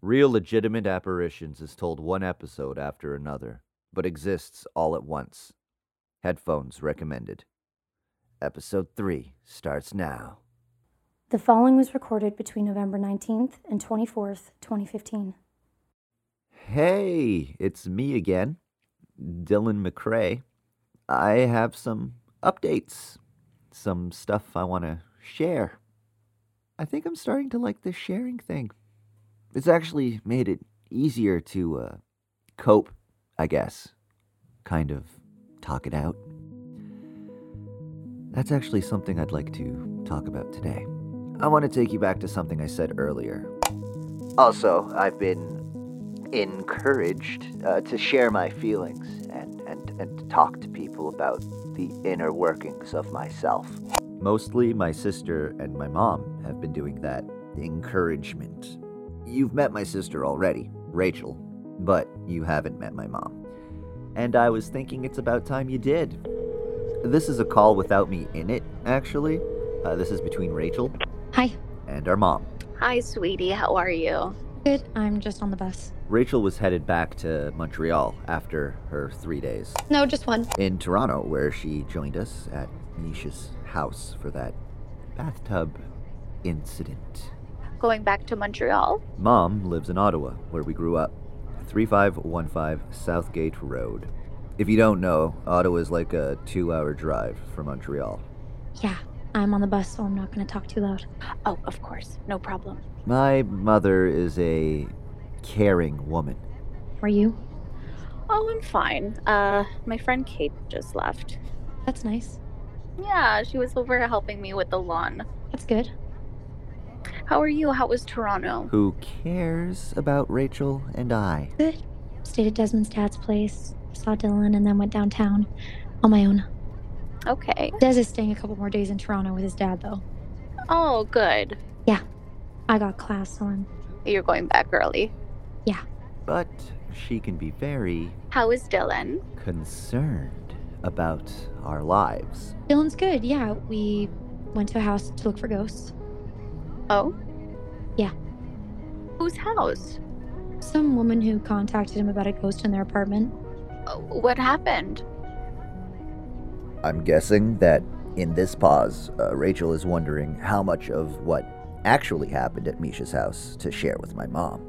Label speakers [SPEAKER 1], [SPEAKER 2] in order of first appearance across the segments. [SPEAKER 1] Real Legitimate Apparitions is told one episode after another, but exists all at once. Headphones recommended. Episode 3 starts now.
[SPEAKER 2] The following was recorded between November 19th and 24th, 2015.
[SPEAKER 1] Hey, it's me again, Dylan McCrae. I have some updates, some stuff I want to share. I think I'm starting to like this sharing thing. It's actually made it easier to uh, cope, I guess. Kind of talk it out. That's actually something I'd like to talk about today. I want to take you back to something I said earlier. Also, I've been encouraged uh, to share my feelings and, and, and to talk to people about the inner workings of myself. Mostly my sister and my mom have been doing that encouragement. You've met my sister already, Rachel, but you haven't met my mom. And I was thinking it's about time you did. This is a call without me in it, actually. Uh, this is between Rachel
[SPEAKER 3] Hi.
[SPEAKER 1] and our mom.
[SPEAKER 3] Hi, sweetie. How are you?
[SPEAKER 4] Good. I'm just on the bus.
[SPEAKER 1] Rachel was headed back to Montreal after her three days
[SPEAKER 4] No, just one.
[SPEAKER 1] in Toronto, where she joined us at Nisha's house for that bathtub incident.
[SPEAKER 3] Going back to Montreal?
[SPEAKER 1] Mom lives in Ottawa, where we grew up. 3515 Southgate Road. If you don't know, Ottawa is like a two hour drive from Montreal.
[SPEAKER 4] Yeah, I'm on the bus, so I'm not going to talk too loud.
[SPEAKER 3] Oh, of course. No problem.
[SPEAKER 1] My mother is a caring woman.
[SPEAKER 4] Were you?
[SPEAKER 3] Oh, I'm fine. Uh, my friend Kate just left.
[SPEAKER 4] That's nice.
[SPEAKER 3] Yeah, she was over helping me with the lawn.
[SPEAKER 4] That's good.
[SPEAKER 3] How are you? How was Toronto?
[SPEAKER 1] who cares about Rachel and I.
[SPEAKER 4] Good. Stayed at Desmond's dad's place, saw Dylan, and then went downtown on my own.
[SPEAKER 3] Okay.
[SPEAKER 4] Des is staying a couple more days in Toronto with his dad, though.
[SPEAKER 3] Oh, good.
[SPEAKER 4] I got class, so I'm.
[SPEAKER 3] You're going back early.
[SPEAKER 1] But she can be very
[SPEAKER 3] How is Dylan?
[SPEAKER 1] concerned about our lives.
[SPEAKER 4] Dylan's good. Yeah, we went to a house to look for ghosts.
[SPEAKER 3] Oh?
[SPEAKER 4] Yeah.
[SPEAKER 3] Whose house?
[SPEAKER 4] Some woman who contacted him about a ghost in their apartment.
[SPEAKER 3] Oh, What happened?
[SPEAKER 1] I'm guessing that in this pause, uh, Rachel is wondering how much of what actually happened at Misha's house to share with my mom.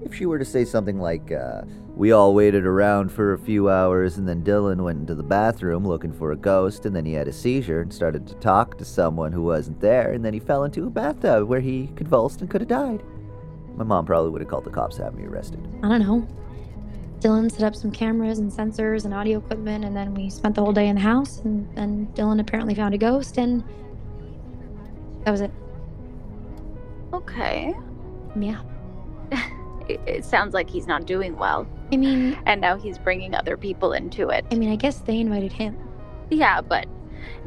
[SPEAKER 1] If she were to say something like, uh, We all waited around for a few hours, and then Dylan went into the bathroom looking for a ghost, and then he had a seizure and started to talk to someone who wasn't there, and then he fell into a bathtub where he convulsed and could have died. My mom probably would have called the cops, to have me arrested.
[SPEAKER 4] I don't know. Dylan set up some cameras and sensors and audio equipment, and then we spent the whole day in the house. And then Dylan apparently found a ghost, and that was it.
[SPEAKER 3] Okay.
[SPEAKER 4] Yeah.
[SPEAKER 3] It, it sounds like he's not doing well.
[SPEAKER 4] I mean,
[SPEAKER 3] And now he's bringing other people into it.
[SPEAKER 4] I mean, I guess they invited him.
[SPEAKER 3] Yeah, but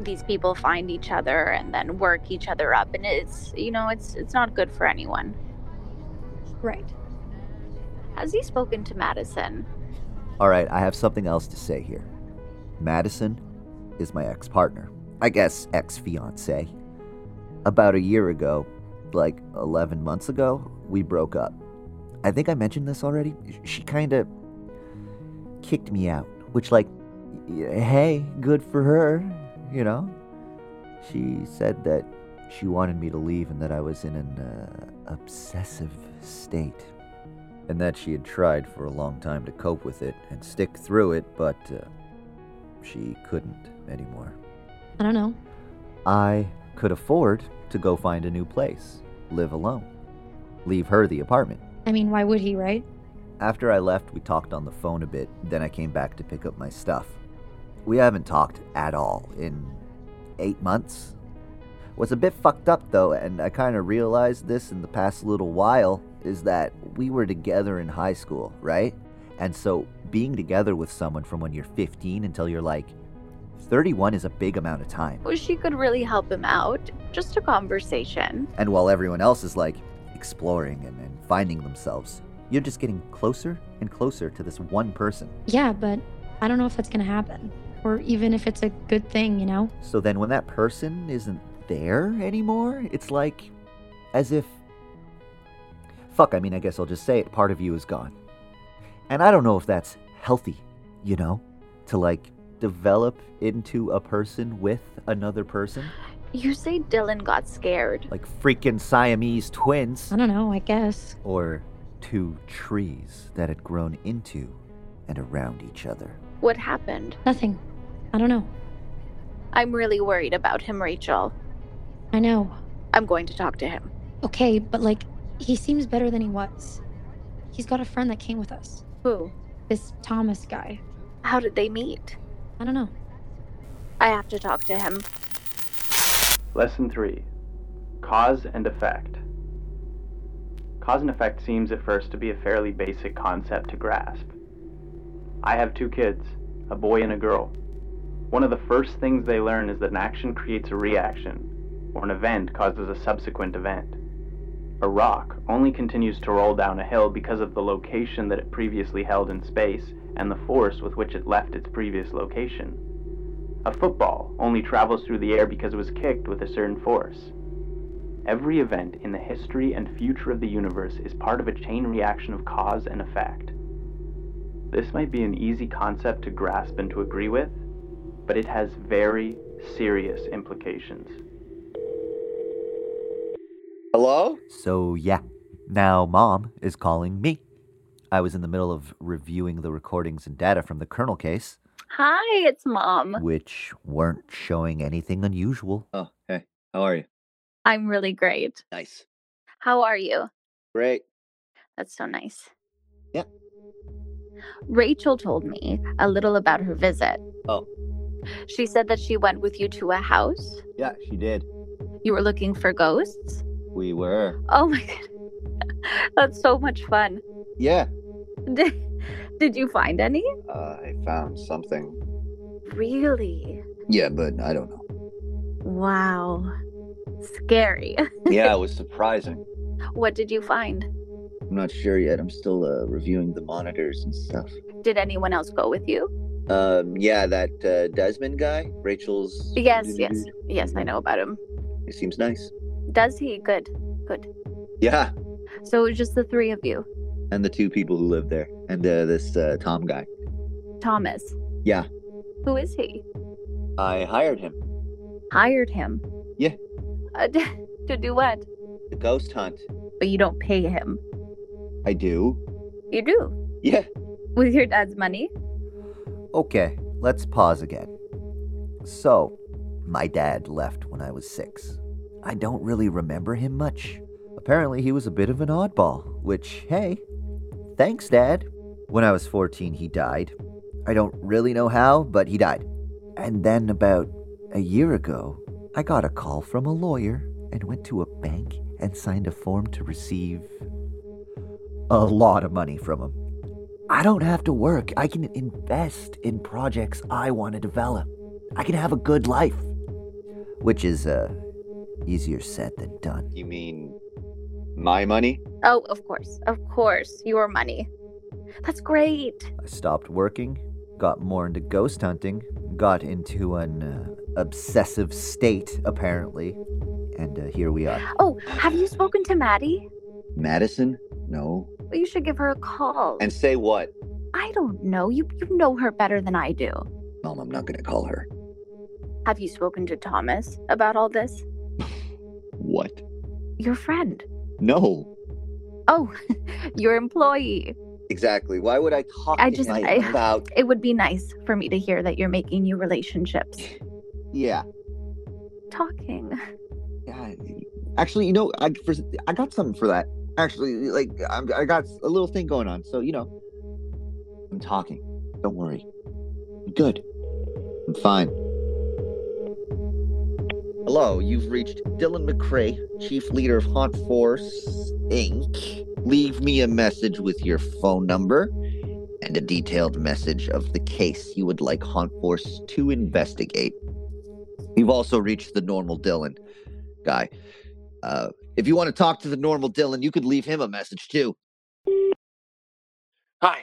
[SPEAKER 3] these people find each other and then work each other up and it's you know, it's it's not good for anyone.
[SPEAKER 4] Right.
[SPEAKER 3] Has he spoken to Madison?
[SPEAKER 1] All right, I have something else to say here. Madison is my ex partner. I guess ex fiance. About a year ago, like 11 months ago, we broke up. I think I mentioned this already. She kind of kicked me out, which, like, y- hey, good for her, you know? She said that she wanted me to leave and that I was in an uh, obsessive state and that she had tried for a long time to cope with it and stick through it, but uh, she couldn't anymore.
[SPEAKER 4] I don't know.
[SPEAKER 1] I could afford to go find a new place, live alone, leave her the apartment.
[SPEAKER 4] I mean, why would he, right?
[SPEAKER 1] After I left, we talked on the phone a bit, then I came back to pick up my stuff. We haven't talked at all in eight months. What's a bit fucked up though, and I kind of realized this in the past little while, is that we were together in high school, right? And so being together with someone from when you're 15 until you're like 31 is a big amount of time.
[SPEAKER 3] Well, she could really help him out. Just a conversation.
[SPEAKER 1] And while everyone else is like exploring and, and finding themselves, you're just getting closer and closer to this one person.
[SPEAKER 4] Yeah, but I don't know if that's gonna happen, or even if it's a good thing, you know?
[SPEAKER 1] So then when that person isn't there anymore, it's like as if fuck, I mean, I guess I'll just say it, part of you is gone. And I don't know if that's healthy, you know, to like develop into a person with another person,
[SPEAKER 3] You say Dylan got scared.
[SPEAKER 1] like freaking Siamese twins,
[SPEAKER 4] I don't know, I guess.
[SPEAKER 1] or two trees that had grown into and around each other.
[SPEAKER 3] What happened?
[SPEAKER 4] Nothing. I don't know.
[SPEAKER 3] I'm really worried about him, Rachel.
[SPEAKER 4] I know.
[SPEAKER 3] I'm going to talk to him.
[SPEAKER 4] Okay, but like, he seems better than he was. He's got a friend that came with us.
[SPEAKER 3] Who?
[SPEAKER 4] This Thomas guy.
[SPEAKER 3] How did they meet?
[SPEAKER 4] I don't know.
[SPEAKER 3] I have to talk to him.
[SPEAKER 5] Lesson 3 Cause and Effect. Cause and effect seems at first to be a fairly basic concept to grasp. I have two kids, a boy and a girl. One of the first things they learn is that an action creates a reaction, or an event causes a subsequent event. A rock only continues to roll down a hill because of the location that it previously held in space and the force with which it left its previous location. A football only travels through the air because it was kicked with a certain force. Every event in the history and future of the universe is part of a chain reaction of cause and effect. This might be an easy concept to grasp and to agree with, but it has very serious implications.
[SPEAKER 6] Hello?
[SPEAKER 1] So, yeah, now mom is calling me. I was in the middle of reviewing the recordings and data from the Colonel case,
[SPEAKER 3] Hi, it's Mom.
[SPEAKER 1] which weren't showing anything unusual.
[SPEAKER 6] Oh, hey. How are you?
[SPEAKER 3] I'm really great.
[SPEAKER 6] Nice.
[SPEAKER 3] How are you?
[SPEAKER 6] Great.
[SPEAKER 3] That's so nice.
[SPEAKER 6] Yep.
[SPEAKER 3] Rachel told me a little about her visit.
[SPEAKER 6] Oh.
[SPEAKER 3] She said that she went with you to a house.
[SPEAKER 6] Yeah, she did.
[SPEAKER 3] You were looking for ghosts.
[SPEAKER 6] We were.
[SPEAKER 3] Oh my god. That's so much fun.
[SPEAKER 6] Yeah.
[SPEAKER 3] Did, did you find any?
[SPEAKER 6] Uh, I found something.
[SPEAKER 3] Really?
[SPEAKER 6] Yeah, but I don't know.
[SPEAKER 3] Wow. Scary.
[SPEAKER 6] Yeah, it was surprising.
[SPEAKER 3] What did you find?
[SPEAKER 6] I'm not sure yet. I'm still uh, reviewing the monitors and stuff.
[SPEAKER 3] Did anyone else go with you?
[SPEAKER 6] Um, yeah, that uh, Desmond guy, Rachel's.
[SPEAKER 3] Yes, yes. Yes,
[SPEAKER 6] Mm-hmm.
[SPEAKER 3] I know about him.
[SPEAKER 6] He seems nice.
[SPEAKER 3] Does he? Good.
[SPEAKER 6] Yeah,
[SPEAKER 3] So it was just the three of you.
[SPEAKER 6] and the two people who live there, and uh, this uh, Tom guy.
[SPEAKER 3] Thomas.
[SPEAKER 6] Yeah.
[SPEAKER 3] Who is he?
[SPEAKER 6] I hired him
[SPEAKER 3] Hired him.
[SPEAKER 6] Yeah.
[SPEAKER 3] Uh, d- to do what?
[SPEAKER 6] to ghost hunt.
[SPEAKER 3] But you don't pay him.
[SPEAKER 6] I do.
[SPEAKER 3] You do.
[SPEAKER 6] Yeah.
[SPEAKER 3] With your dad's money?
[SPEAKER 1] Okay, let's pause again. So, my dad left when I was six. I don't really remember him much. Apparently, he was a bit of an oddball, which, hey, thanks, Dad. When I was 14, he died. I don't really know how, but he died. And then, about a year ago, I got a call from a lawyer and went to a bank and signed a form to receive a lot of money from him. I don't have to work. I can invest in projects I want to develop. I can have a good life. Which is uh easier said than done.
[SPEAKER 6] You mean my money?
[SPEAKER 3] Oh, of course. Of course. Your money. That's great.
[SPEAKER 1] I stopped working, got more into ghost hunting, got into an uh, obsessive state apparently, and uh, here we are.
[SPEAKER 3] Oh, have you spoken to Maddie?
[SPEAKER 6] Madison? No.
[SPEAKER 3] Well, you should give her a call.
[SPEAKER 6] And say what?
[SPEAKER 3] I don't know. You you know her better than I do.
[SPEAKER 6] Mom, I'm not gonna call her.
[SPEAKER 3] Have you spoken to Thomas about all this?
[SPEAKER 6] What?
[SPEAKER 3] Your friend.
[SPEAKER 6] No.
[SPEAKER 3] Oh, your employee.
[SPEAKER 6] Exactly. Why would I talk
[SPEAKER 3] I
[SPEAKER 6] to
[SPEAKER 3] just-
[SPEAKER 6] him
[SPEAKER 3] I-
[SPEAKER 6] about?
[SPEAKER 3] It would be nice for me to hear that you're making new relationships.
[SPEAKER 6] Yeah.
[SPEAKER 3] Talking.
[SPEAKER 6] God. Actually, you know, I for, I got something for that. Actually, like I'm, I got a little thing going on, so you know, I'm talking. Don't worry. I'm good. I'm fine. Hello, you've reached Dylan McCrae, Chief Leader of Haunt Force Inc. Leave me a message with your phone number and a detailed message of the case you would like Haunt Force to investigate. You've also reached the normal Dylan guy. Uh, if you want to talk to the normal Dylan, you could leave him a message too.
[SPEAKER 7] Hi.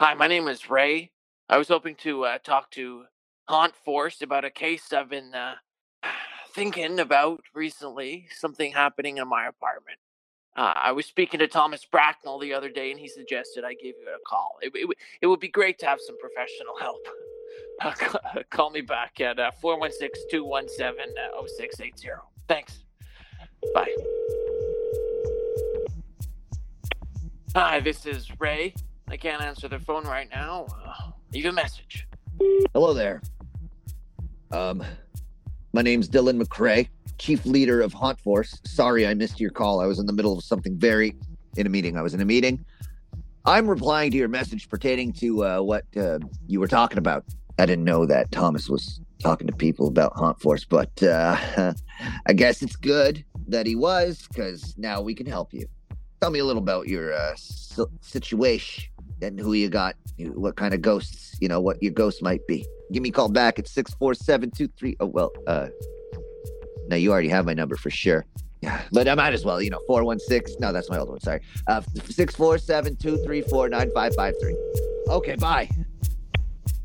[SPEAKER 7] Hi, my name is Ray. I was hoping to uh, talk to Haunt Force about a case I've been uh, thinking about recently, something happening in my apartment. Uh, I was speaking to Thomas Bracknell the other day, and he suggested I give you a call. It, it, would- it would be great to have some professional help. Uh, ca- call me back at uh, 416 217 0680. Thanks. Bye. Hi, this is Ray. I can't answer the phone right now. Uh, leave a message.
[SPEAKER 1] Hello there. Um, my name's Dylan McCrae, chief leader of Haunt Force. Sorry I missed your call. I was in the middle of something very in a meeting. I was in a meeting. I'm replying to your message pertaining to uh, what uh, you were talking about. I didn't know that Thomas was talking to people about Haunt Force, but uh, I guess it's good that he was because now we can help you. Tell me a little about your uh, s- situation and who you got, you- what kind of ghosts, you know, what your ghost might be. Give me a call back at 64723. Oh, well, uh, now you already have my number for sure. Yeah, but I might as well, you know, 416. No, that's my old one. Sorry. Uh, 647 234 9553. Okay, bye.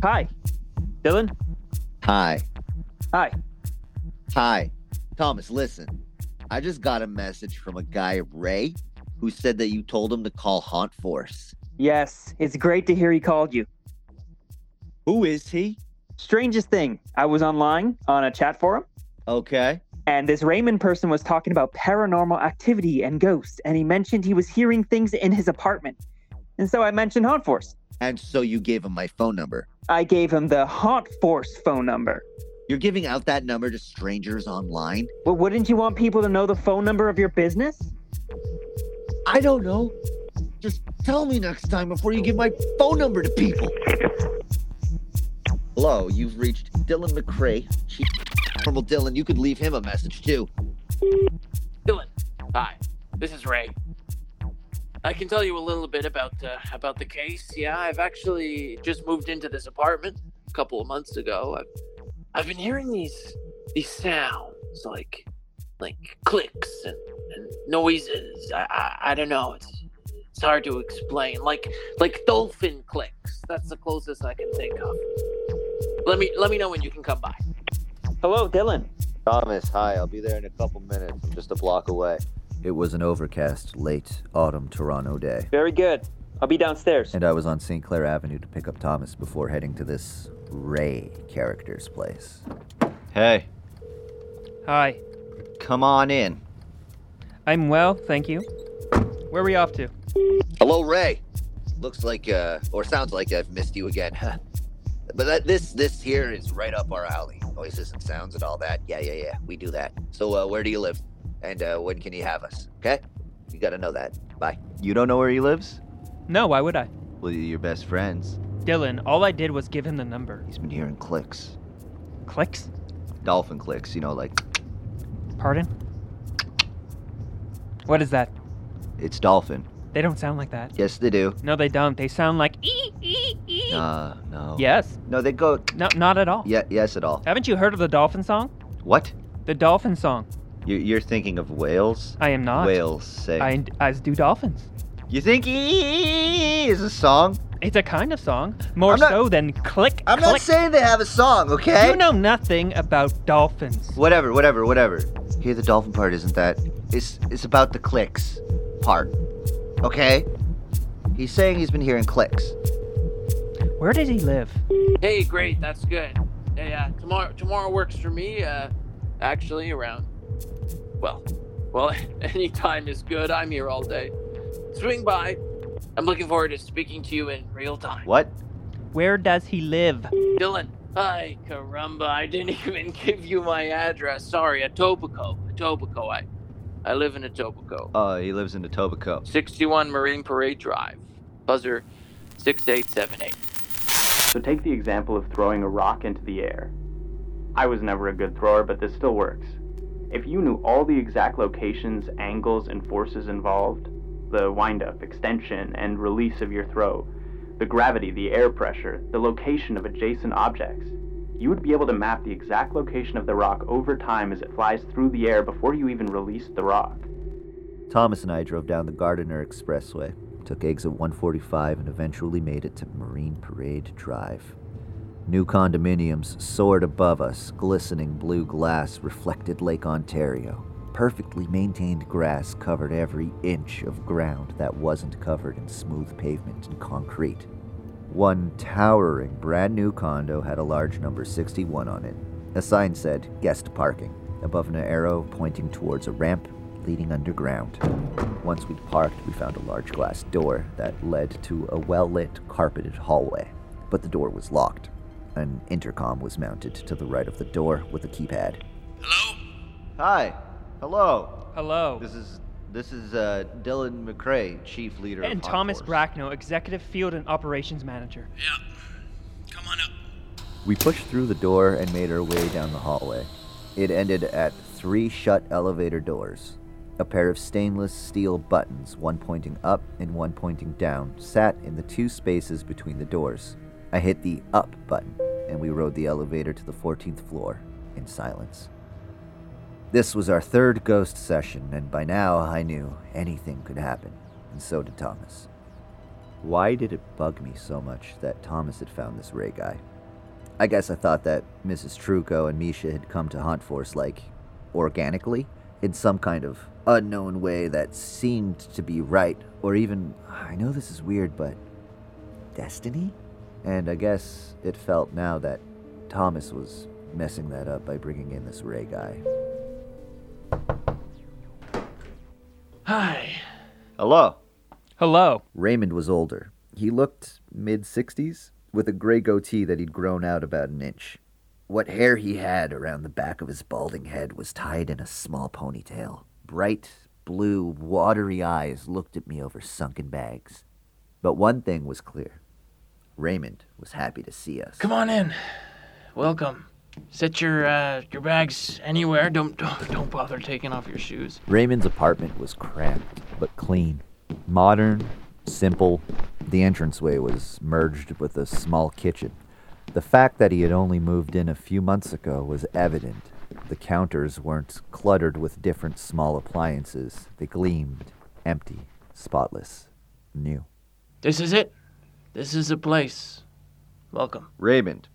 [SPEAKER 8] Hi. Dylan?
[SPEAKER 1] Hi.
[SPEAKER 8] Hi.
[SPEAKER 1] Hi. Thomas, listen. I just got a message from a guy, Ray, who said that you told him to call Haunt Force.
[SPEAKER 8] Yes, it's great to hear he called you.
[SPEAKER 1] Who is he?
[SPEAKER 8] Strangest thing, I was online on a chat forum,
[SPEAKER 1] Okay.
[SPEAKER 8] and this Raymond person was talking about paranormal activity and ghosts, and he mentioned he was hearing things in his apartment. And so I mentioned Haunt Force.
[SPEAKER 1] And so you gave him my phone number.
[SPEAKER 8] I gave him the Haunt Force phone number.
[SPEAKER 1] You're giving out that number to strangers online?
[SPEAKER 8] Well, wouldn't you want people to know the phone number of your business?
[SPEAKER 1] I don't know. Just tell me next time before you give my phone number to people. Hello, you've reached Dylan McCrae. Chief Colonel Dylan, you could leave him a message too.
[SPEAKER 7] Dylan. Hi. This is Ray. I can tell you a little bit about uh, about the case. Yeah, I've actually just moved into this apartment a couple of months ago. I've, I've been hearing these these sounds like like clicks and, and noises. I, I I don't know. It's it's hard to explain. Like like dolphin clicks. That's the closest I can think of. Let me let me know when you can come by.
[SPEAKER 8] Hello, Dylan.
[SPEAKER 9] Thomas, hi. I'll be there in a couple minutes. I'm just a block away.
[SPEAKER 10] It was an overcast, late autumn Toronto day,
[SPEAKER 8] Very good. I'll be downstairs.
[SPEAKER 10] and I was on St. Clair Avenue to pick up Thomas before heading to this Ray character's place.
[SPEAKER 9] Hey,
[SPEAKER 11] Hi,
[SPEAKER 9] come on in.
[SPEAKER 11] I'm well, thank you. Where are we off to?
[SPEAKER 1] Hello, Ray. Looks like, uh, or sounds like I've missed you again. but that, this, this here is right up our alley. Voices and sounds and all that. Yeah, yeah, yeah. We do that. So, uh, where do you live? And uh, when can you have us? Okay. You gotta know that.
[SPEAKER 9] You don't know where he lives?
[SPEAKER 11] No, why would I?
[SPEAKER 9] Well, you're your best friends.
[SPEAKER 11] Dylan, all I did was give him the number.
[SPEAKER 9] He's been hearing clicks.
[SPEAKER 11] Clicks?
[SPEAKER 9] Dolphin clicks, you know, like
[SPEAKER 11] Pardon? What is that?
[SPEAKER 9] it's dolphin.
[SPEAKER 11] They don't sound like that.
[SPEAKER 9] Yes, they do.
[SPEAKER 11] No, they don't. They sound like ee, ee, ee.
[SPEAKER 9] Uh, no.
[SPEAKER 11] Yes.
[SPEAKER 9] No, they go.
[SPEAKER 11] No, not at all.
[SPEAKER 9] Yeah, yes, at all.
[SPEAKER 11] Haven't you heard of the dolphin song?
[SPEAKER 9] What?
[SPEAKER 11] The dolphin song.
[SPEAKER 9] You- You're thinking of whales?
[SPEAKER 11] I am not.
[SPEAKER 9] Whales say.
[SPEAKER 11] I, I do dolphins.
[SPEAKER 9] You think "Ee" is a song?
[SPEAKER 11] It's a kind of song. More
[SPEAKER 9] I'm not-
[SPEAKER 11] so than click.
[SPEAKER 9] I'm not
[SPEAKER 11] click.
[SPEAKER 9] saying they have a song, okay?
[SPEAKER 11] You know nothing about dolphins.
[SPEAKER 9] Whatever, whatever, whatever. Here, the dolphin part isn't that. It's it's about the clicks part. Okay? He's saying he's been hearing clicks.
[SPEAKER 11] Where did he live?
[SPEAKER 7] Hey, great. That's good. Yeah, yeah. Tomorrow, tomorrow works for me. Uh, actually, around. Well, well, any time is good. I'm here all day. Swing by. I'm looking forward to speaking to you in real time.
[SPEAKER 9] What?
[SPEAKER 11] Where does he live?
[SPEAKER 7] Dylan. Hi, caramba. I didn't even give you my address. Sorry, Etobicoke. Etobicoke. I, I live in Etobicoke.
[SPEAKER 9] Oh, he lives in Etobicoke.
[SPEAKER 7] 61 Marine Parade Drive. Buzzer 6878.
[SPEAKER 5] So take the example of throwing a rock into the air. I was never a good thrower, but this still works. If you knew all the exact locations, angles, and forces involved, the windup, extension, and release of your throw, the gravity, the air pressure, the location of adjacent objects, you would be able to map the exact location of the rock over time as it flies through the air before you even release the rock.
[SPEAKER 10] Thomas and I drove down the Gardiner Expressway, took exit 145, and eventually made it to Marine Parade Drive. New condominiums soared above us, glistening blue glass reflected Lake Ontario.
[SPEAKER 1] Perfectly maintained grass covered every inch of ground that wasn't covered in smooth pavement and concrete. One towering brand new condo had a large number 61 on it. A sign said guest parking above an arrow pointing towards a ramp leading underground. Once we'd parked, we found a large glass door that led to a well lit, carpeted hallway, but the door was locked. An intercom was mounted to the right of the door with a keypad.
[SPEAKER 12] Hi. Hello.
[SPEAKER 13] Hello.
[SPEAKER 12] This is this is uh, Dylan McRae, chief leader
[SPEAKER 13] And
[SPEAKER 12] of Hot
[SPEAKER 13] Thomas
[SPEAKER 12] Force.
[SPEAKER 13] Bracknell, Executive Field and Operations Manager.
[SPEAKER 1] We pushed through the door and made our way down the hallway. It ended at three shut elevator doors. A pair of stainless steel buttons, one pointing up and one pointing down, sat in the two spaces between the doors. I hit the up button, and we rode the elevator to the 14th floor in silence. This was our third ghost session, and by now I knew anything could happen, and so did Thomas. Why did it bug me so much that Thomas had found this Ray guy? I guess I thought that Mrs. Truco and Misha had come to hunt for us, like, organically, in some kind of unknown way that seemed to be right, or even, I know this is weird, but destiny? And I guess it felt now that Thomas was messing that up by bringing in this Ray guy.
[SPEAKER 13] Hi.
[SPEAKER 12] Hello.
[SPEAKER 13] Hello.
[SPEAKER 1] Raymond was older. He looked mid 60s, with a gray goatee that he'd grown out about an inch. What hair he had around the back of his balding head was tied in a small ponytail. Bright, blue, watery eyes looked at me over sunken bags. But one thing was clear Raymond was happy to see us.
[SPEAKER 7] Come on in. Welcome. Set your uh, your bags anywhere. Don't, don't don't bother taking off your shoes.
[SPEAKER 1] Raymond's apartment was cramped, but clean. Modern, simple. The entranceway was merged with a small kitchen. The fact that he had only moved in a few months ago was evident. The counters weren't cluttered with different small appliances. They gleamed, empty, spotless, new.
[SPEAKER 7] This is it. This is the place. Welcome.
[SPEAKER 12] Raymond.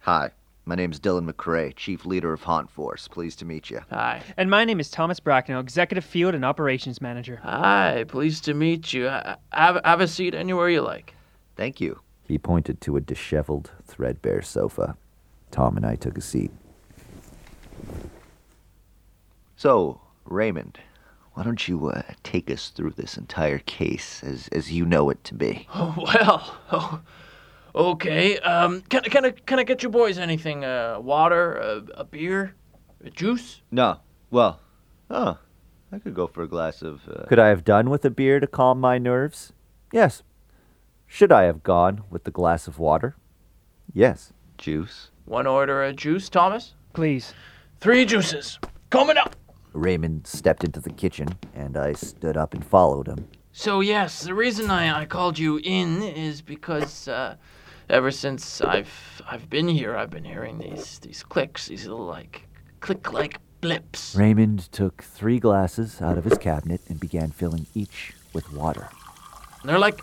[SPEAKER 12] Hi. My name's Dylan McRae, chief leader of Haunt Force. Pleased to meet you.
[SPEAKER 7] Hi.
[SPEAKER 13] And my name is Thomas Bracknell, Executive Field and Operations Manager.
[SPEAKER 7] Hi. Pleased to meet you. Ha- Have have a seat anywhere you like.
[SPEAKER 12] Thank you.
[SPEAKER 1] He pointed to a disheveled, threadbare sofa. Tom and I took a seat.
[SPEAKER 12] So, Raymond, why don't you uh, take us through this entire case as as you know it to be?
[SPEAKER 7] Oh, well. Oh, okay. Um. Can can I can I get you boys anything? Uh, water, a, a beer, a juice.
[SPEAKER 12] No. Well, oh, I could go for a glass of. Uh,
[SPEAKER 1] Could I have done with a beer to calm my nerves? Yes. Should I have gone with the glass of water? Yes.
[SPEAKER 12] juice?
[SPEAKER 7] One order of juice, Thomas.
[SPEAKER 13] Please.
[SPEAKER 7] Three juices. Coming up.
[SPEAKER 1] Raymond stepped into the kitchen, and I stood up and followed him.
[SPEAKER 7] So yes, the reason I, I called you in is because uh, ever since I've I've been here, I've been hearing these these clicks, these little like click like blips.
[SPEAKER 1] Raymond took three glasses out of his cabinet and began filling each with water.
[SPEAKER 7] They're like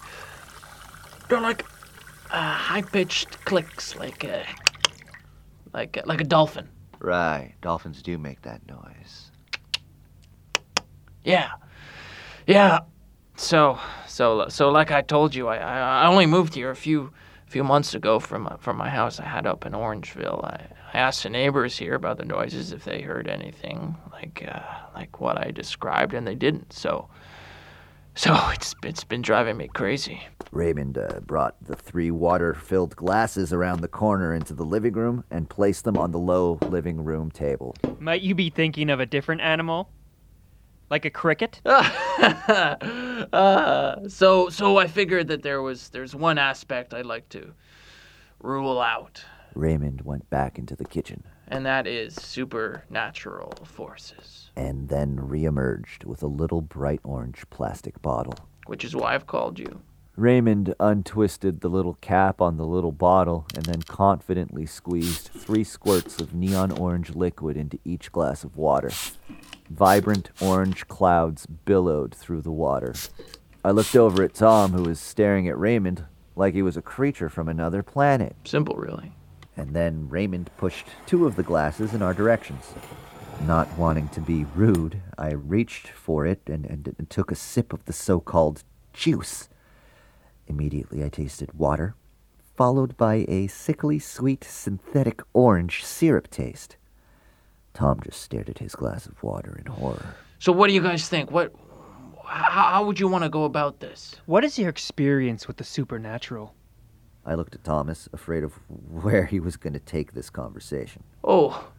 [SPEAKER 7] they're like uh, high pitched clicks, like a like a, like a dolphin.
[SPEAKER 12] Right. Dolphins do make that noise.
[SPEAKER 7] Yeah, yeah. So so so like I told you, I I, I only moved here a few few months ago from my, from my house I had up in Orangeville. I, I asked the neighbors here about the noises if they heard anything like uh, like what I described, and they didn't. So so it's it's been driving me crazy.
[SPEAKER 1] Raymond uh, brought the three water filled glasses around the corner into the living room and placed them on the low living room table.
[SPEAKER 13] Might you be thinking of a different animal? Like a cricket?
[SPEAKER 7] uh, so so I figured that there was there's one aspect I'd like to rule out,
[SPEAKER 1] Raymond went back into the kitchen
[SPEAKER 7] and that is supernatural forces.
[SPEAKER 1] and then reemerged with a little bright orange plastic bottle.
[SPEAKER 7] which is why I've called you.
[SPEAKER 1] Raymond untwisted the little cap on the little bottle and then confidently squeezed three squirts of neon orange liquid into each glass of water. Vibrant orange clouds billowed through the water. I looked over at Tom, who was staring at Raymond like he was a creature from another planet.
[SPEAKER 7] Simple, really.
[SPEAKER 1] And then Raymond pushed two of the glasses in our directions.
[SPEAKER 14] Not wanting to be rude, I reached for it and, and, and took a sip of the so called juice. Immediately, I tasted water, followed by a sickly sweet synthetic orange syrup taste. Tom just stared at his glass of water in horror.
[SPEAKER 7] So, what do you guys think? What, how, how would you want to go about this?
[SPEAKER 13] What is your experience with the supernatural?
[SPEAKER 14] I looked at Thomas, afraid of where he was going to take this conversation.
[SPEAKER 7] Oh,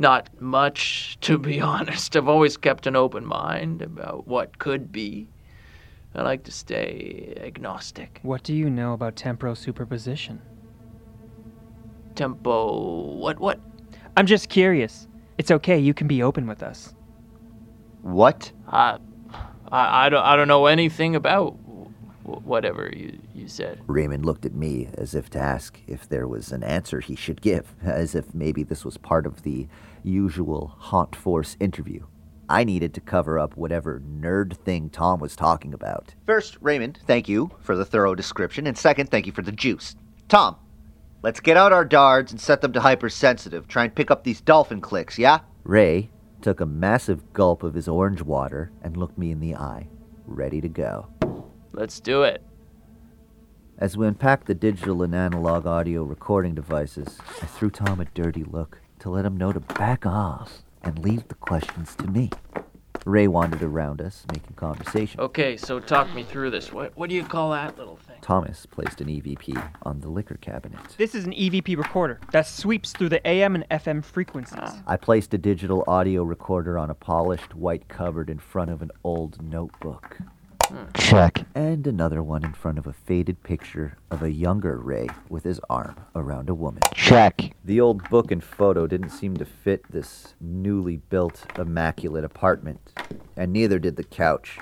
[SPEAKER 7] not much, to be honest. I've always kept an open mind about what could be. I like to stay agnostic.
[SPEAKER 13] What do you know about temporal superposition?
[SPEAKER 7] Tempo. What? What?
[SPEAKER 13] I'm just curious. It's okay, you can be open with us.
[SPEAKER 15] What?
[SPEAKER 7] I, I, I, don't, I don't know anything about w- whatever you, you said.
[SPEAKER 14] Raymond looked at me as if to ask if there was an answer he should give, as if maybe this was part of the usual Haunt Force interview. I needed to cover up whatever nerd thing Tom was talking about.
[SPEAKER 15] First, Raymond, thank you for the thorough description, and second, thank you for the juice. Tom, let's get out our dards and set them to hypersensitive. Try and pick up these dolphin clicks, yeah?
[SPEAKER 14] Ray took a massive gulp of his orange water and looked me in the eye, ready to go.
[SPEAKER 7] Let's do it.
[SPEAKER 14] As we unpacked the digital and analog audio recording devices, I threw Tom a dirty look to let him know to back off and leave the questions to me. Ray wandered around us, making conversation.
[SPEAKER 7] Okay, so talk me through this. What, what do you call that little thing?
[SPEAKER 14] Thomas placed an EVP on the liquor cabinet.
[SPEAKER 13] This is an EVP recorder that sweeps through the AM and FM frequencies.
[SPEAKER 14] I placed a digital audio recorder on a polished white cupboard in front of an old notebook.
[SPEAKER 15] Check.
[SPEAKER 14] And another one in front of a faded picture of a younger Ray with his arm around a woman.
[SPEAKER 15] Check.
[SPEAKER 14] The old book and photo didn't seem to fit this newly built, immaculate apartment, and neither did the couch,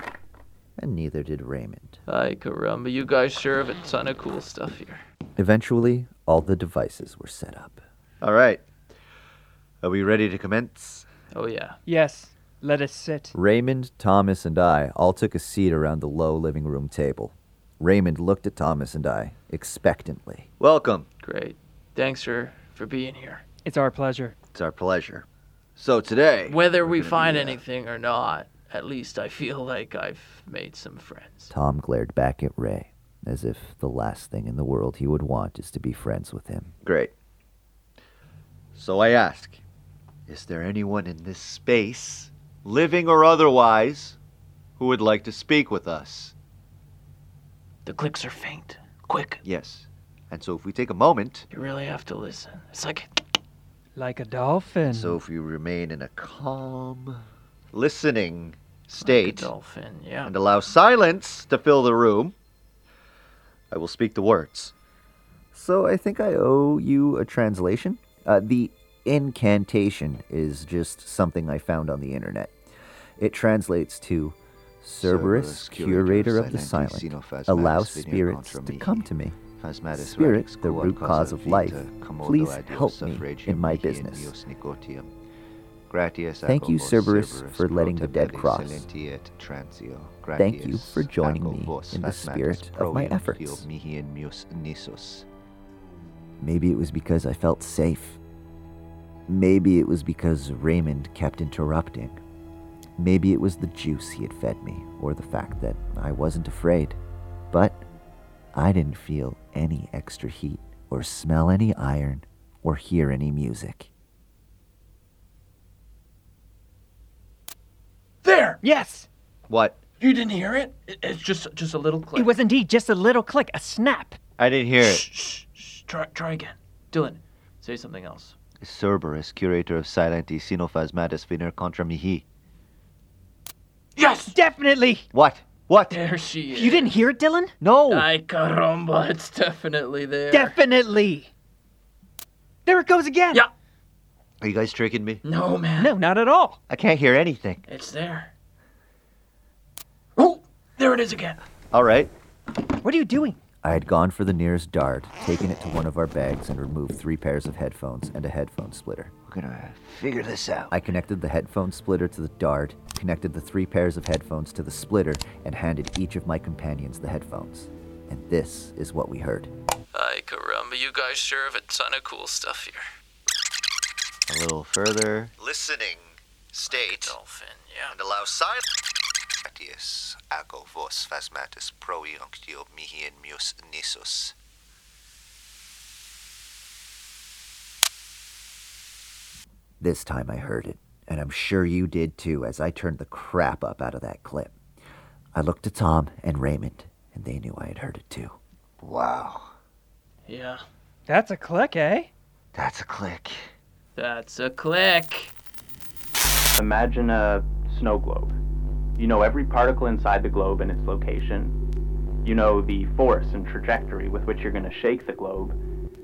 [SPEAKER 14] and neither did Raymond.
[SPEAKER 7] Ay, caramba, you guys sure have a ton of cool stuff here.
[SPEAKER 14] Eventually, all the devices were set up.
[SPEAKER 15] All right. Are we ready to commence?
[SPEAKER 7] Oh, yeah.
[SPEAKER 13] Yes, let us sit.
[SPEAKER 14] Raymond, Thomas, and I all took a seat around the low living room table. Raymond looked at Thomas and I expectantly.
[SPEAKER 15] Welcome.
[SPEAKER 7] Great. Thanks for, for being here.
[SPEAKER 13] It's our pleasure.
[SPEAKER 15] It's our pleasure. So today,
[SPEAKER 7] Whether we find anything or not, at least I feel like I've made some friends.
[SPEAKER 14] Tom glared back at Ray, as if the last thing in the world he would want is to be friends with him.
[SPEAKER 15] great. So I ask, is there anyone in this space, living or otherwise, who would like to speak with us?
[SPEAKER 7] The clicks are faint. Quick.
[SPEAKER 15] Yes. And so if we take a moment,
[SPEAKER 7] You really have to listen. It's like
[SPEAKER 13] Like a dolphin.
[SPEAKER 15] so if we remain in a calm, listening state,
[SPEAKER 7] a dolphin. Yeah.
[SPEAKER 15] and allow silence to fill the room, I will speak the words.
[SPEAKER 14] So I think I owe you a translation. Uh, the incantation is just something I found on the internet. It translates to Cerberus, curator of the silent, allow spirits to come to me. Spirit, the root cause of life, please help me in my business.
[SPEAKER 1] Thank you, Cerberus, for letting the dead cross.
[SPEAKER 14] Thank you for joining me in the spirit of my efforts. Maybe it was because I felt safe. Maybe it was because Raymond kept interrupting. Maybe it was the juice he had fed me, or the fact that I wasn't afraid. But I didn't feel any extra heat, or smell any iron, or hear any music.
[SPEAKER 7] there.
[SPEAKER 13] Yes!
[SPEAKER 15] What?
[SPEAKER 7] You didn't hear it? It- It's just just a little click.
[SPEAKER 13] It was indeed just a little click, a snap.
[SPEAKER 15] I didn't hear it.
[SPEAKER 7] Shh, shh, shh. Try, try again. Dylan, say something else.
[SPEAKER 1] Cerberus, curator of silent e sinophasmatis vener contra mihi.
[SPEAKER 7] Yes!
[SPEAKER 13] Definitely!
[SPEAKER 15] What? What?
[SPEAKER 7] There she is.
[SPEAKER 13] You didn't hear it, Dylan?
[SPEAKER 15] No!
[SPEAKER 7] Ay, caramba, it's definitely there.
[SPEAKER 13] Definitely! There it goes again!
[SPEAKER 7] Yeah.
[SPEAKER 15] Are you guys tricking me?
[SPEAKER 7] No, man.
[SPEAKER 13] No, not at all.
[SPEAKER 15] I can't hear anything.
[SPEAKER 7] It's there. Oh, there it is again.
[SPEAKER 15] All right.
[SPEAKER 13] What are you doing?
[SPEAKER 14] I had gone for the nearest dart, taken it to one of our bags, and removed three pairs of headphones and a headphone splitter.
[SPEAKER 15] We're gonna figure this out.
[SPEAKER 14] I connected the headphone splitter to the dart, connected the three pairs of headphones to the splitter, and handed each of my companions the headphones. And this is what we heard.
[SPEAKER 7] Ay, caramba, you guys sure have a ton of cool stuff here.
[SPEAKER 1] A little further.
[SPEAKER 15] Listening
[SPEAKER 14] state
[SPEAKER 7] Dolphin, yeah.
[SPEAKER 14] and allow silence. Atius, ago vos phasmatis proiunctio mihi in mus nisus.
[SPEAKER 1] This time I heard it, and I'm sure you did too as I turned the crap up out of that clip. I looked to Tom and Raymond, and they knew I had heard it too.
[SPEAKER 14] Wow.
[SPEAKER 7] Yeah.
[SPEAKER 13] That's a click, eh?
[SPEAKER 14] That's a click.
[SPEAKER 7] That's a click.
[SPEAKER 5] Imagine a snow globe. You know every particle inside the globe and its location. You know the force and trajectory with which you're going to shake the globe.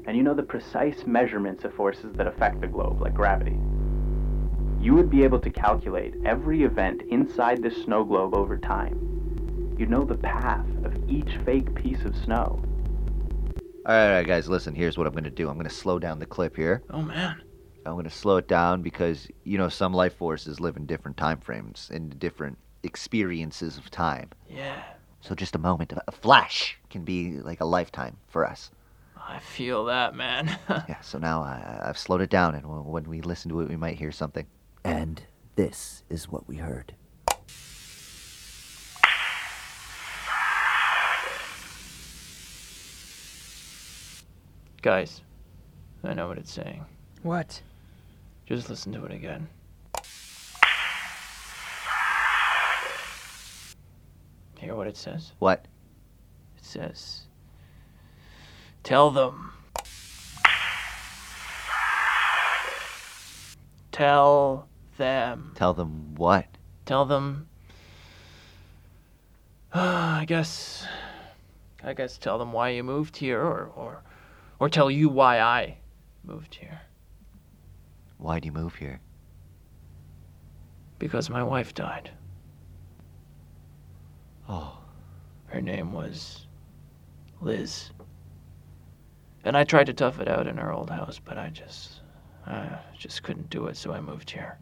[SPEAKER 5] And you know the precise measurements of forces that affect the globe, like gravity. You would be able to calculate every event inside this snow globe over time. You'd know the path of each fake piece of snow.
[SPEAKER 14] All right, all right, guys, listen, here's what I'm going to do. I'm going to slow down the clip here.
[SPEAKER 7] Oh man.
[SPEAKER 14] I'm going to slow it down because, you know, some life forces live in different time frames and different experiences of time.
[SPEAKER 7] Yeah.
[SPEAKER 14] So just a moment, a flash can be like a lifetime for us.
[SPEAKER 7] I feel that, man.
[SPEAKER 14] Yeah, so now I, I've slowed it down, and when when we listen to it, we might hear something.
[SPEAKER 1] And this is what we heard.
[SPEAKER 7] Guys, I know what it's saying.
[SPEAKER 13] What?
[SPEAKER 7] Just listen to it again. Hear what it says?
[SPEAKER 14] What?
[SPEAKER 7] It says, Tell them. Tell them.
[SPEAKER 14] Tell them what?
[SPEAKER 7] Tell them. I guess. I guess tell them why you moved here, or, or, or tell you why I moved here.
[SPEAKER 14] Why'd you move here?
[SPEAKER 7] Because my wife died.
[SPEAKER 14] Oh,
[SPEAKER 7] Her name was Liz. And I tried to tough it out in her old house, but I just I just couldn't do it, so I moved here.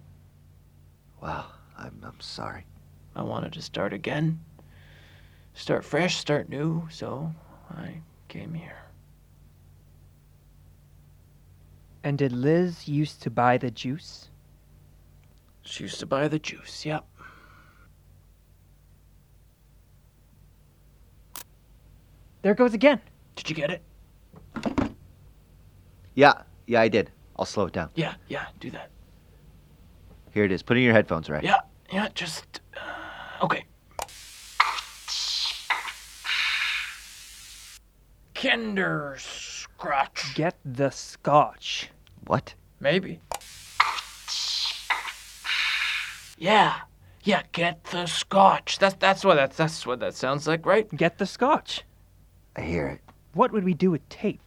[SPEAKER 14] wow. I'm, I'm sorry.
[SPEAKER 7] I wanted to start again. Start fresh, start new, so I came here.
[SPEAKER 13] And did Liz used to buy the juice?
[SPEAKER 7] She used to buy the juice, yep.
[SPEAKER 13] There it goes again.
[SPEAKER 7] Did you get it?
[SPEAKER 14] Yeah, yeah, I did. I'll slow it down.
[SPEAKER 7] Yeah, yeah, do that.
[SPEAKER 14] Here it is. Put in your headphones, right?
[SPEAKER 7] Yeah, yeah, just. Uh, okay. Kinder Scratch.
[SPEAKER 13] Get the scotch.
[SPEAKER 14] What?
[SPEAKER 7] Maybe. Yeah. Yeah, get the scotch. That's that's what that's that's what that sounds like, right?
[SPEAKER 13] Get the scotch.
[SPEAKER 14] I hear it.
[SPEAKER 13] What would we do with tape?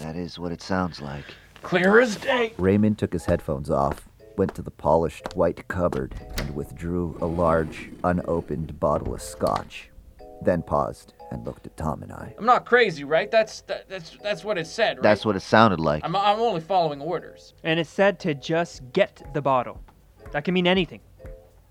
[SPEAKER 14] That is what it sounds like.
[SPEAKER 7] Clear as day.
[SPEAKER 1] Raymond took his headphones off, went to the polished white cupboard, and withdrew a large, unopened bottle of scotch. Then paused and looked at Tom and I.
[SPEAKER 7] I'm not crazy, right? That's that, that's that's what it said, right?
[SPEAKER 14] That's what it sounded like.
[SPEAKER 7] I'm I'm only following orders.
[SPEAKER 13] And it's said to just get the bottle. That can mean anything.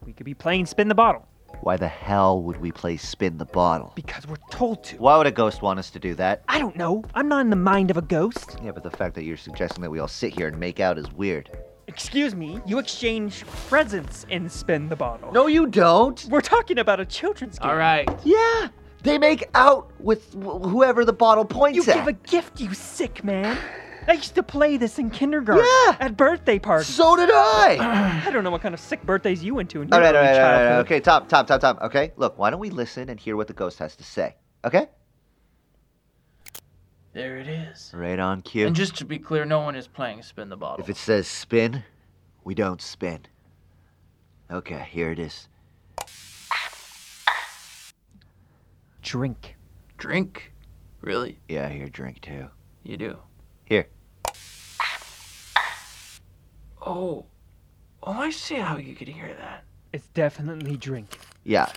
[SPEAKER 13] We could be playing spin the bottle
[SPEAKER 14] Why the hell would we play spin the bottle?
[SPEAKER 13] because we're told to.
[SPEAKER 14] Why would a ghost want us to do that?
[SPEAKER 13] I don't know. I'm not in the mind of a ghost.
[SPEAKER 14] Yeah, but the fact that you're suggesting that we all sit here and make out is weird.
[SPEAKER 13] Excuse me, you exchange presents and spin the bottle.
[SPEAKER 14] No, you don't.
[SPEAKER 13] We're talking about a children's game.
[SPEAKER 7] All right.
[SPEAKER 14] Yeah, they make out with wh- whoever the bottle points
[SPEAKER 13] You
[SPEAKER 14] at.
[SPEAKER 13] give a gift, you sick man. I used to play this in kindergarten.
[SPEAKER 14] Yeah.
[SPEAKER 13] At birthday parties.
[SPEAKER 14] So did I.
[SPEAKER 13] I don't know what kind of sick birthdays you went to in your
[SPEAKER 14] all right, all
[SPEAKER 13] early
[SPEAKER 14] right, all right, all right.
[SPEAKER 13] childhood.
[SPEAKER 14] Okay, top, top, top, top. Okay, look, why don't we listen and hear what the ghost has to say? Okay.
[SPEAKER 7] There it is.
[SPEAKER 14] Right on cue.
[SPEAKER 7] And just to be clear, no one is playing spin the bottle.
[SPEAKER 14] If it says spin, we don't spin. Okay, here it is.
[SPEAKER 13] Drink.
[SPEAKER 7] drink, really,
[SPEAKER 14] Yeah, here, drink too.
[SPEAKER 7] you do.
[SPEAKER 14] Here.
[SPEAKER 7] Oh. Oh, I see how you could hear that.
[SPEAKER 13] It's definitely drink.
[SPEAKER 14] Yeah.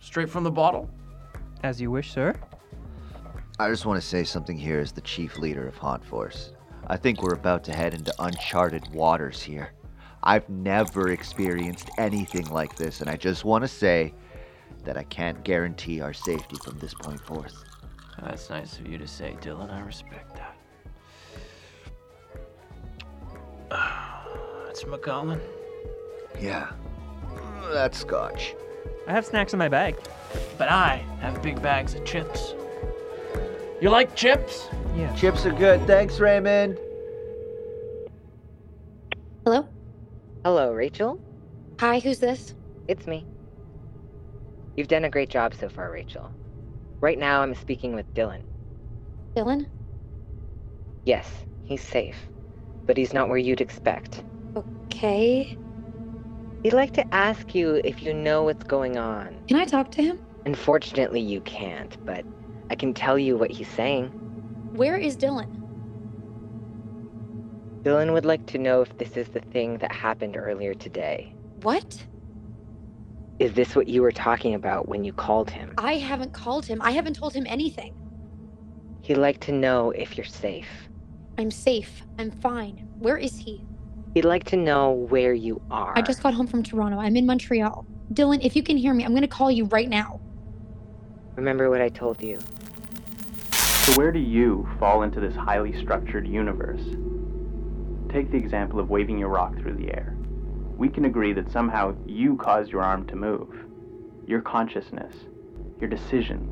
[SPEAKER 7] Straight from the bottle.
[SPEAKER 13] As you wish, sir.
[SPEAKER 14] I just want to say something here as the chief leader of Haunt Force. I think we're about to head into uncharted waters here. I've never experienced anything like this, and I just want to say that I can't guarantee our safety from this point forth.
[SPEAKER 7] That's nice of you to say, Dylan. I respect that. That's McGowan.
[SPEAKER 14] Yeah. Mm, That's scotch.
[SPEAKER 13] I have snacks in my bag.
[SPEAKER 7] But I have big bags of chips. You like chips?
[SPEAKER 13] Yeah.
[SPEAKER 14] Chips are good. Thanks, Raymond.
[SPEAKER 4] Hello?
[SPEAKER 11] Hello, Rachel.
[SPEAKER 4] Hi, who's this?
[SPEAKER 11] It's me. You've done a great job so far, Rachel. Right now, I'm speaking with Dylan.
[SPEAKER 4] Dylan?
[SPEAKER 11] Yes, he's safe, but he's not where you'd expect.
[SPEAKER 4] Okay.
[SPEAKER 11] He'd like to ask you if you know what's going on.
[SPEAKER 4] Can I talk to him?
[SPEAKER 11] Unfortunately, you can't, but I can tell you what he's saying.
[SPEAKER 4] Where is Dylan?
[SPEAKER 11] Dylan would like to know if this is the thing that happened earlier today.
[SPEAKER 4] What?
[SPEAKER 11] Is this what you were talking about when you called him?
[SPEAKER 4] I haven't called him. I haven't told him anything.
[SPEAKER 11] He'd like to know if you're safe.
[SPEAKER 4] I'm safe. I'm fine. Where is he?
[SPEAKER 11] He'd like to know where you are.
[SPEAKER 4] I just got home from Toronto. I'm in Montreal. Dylan, if you can hear me, I'm going to call you right now.
[SPEAKER 11] Remember what I told you.
[SPEAKER 5] So, where do you fall into this highly structured universe? Take the example of waving your rock through the air. We can agree that somehow you caused your arm to move, your consciousness, your decision.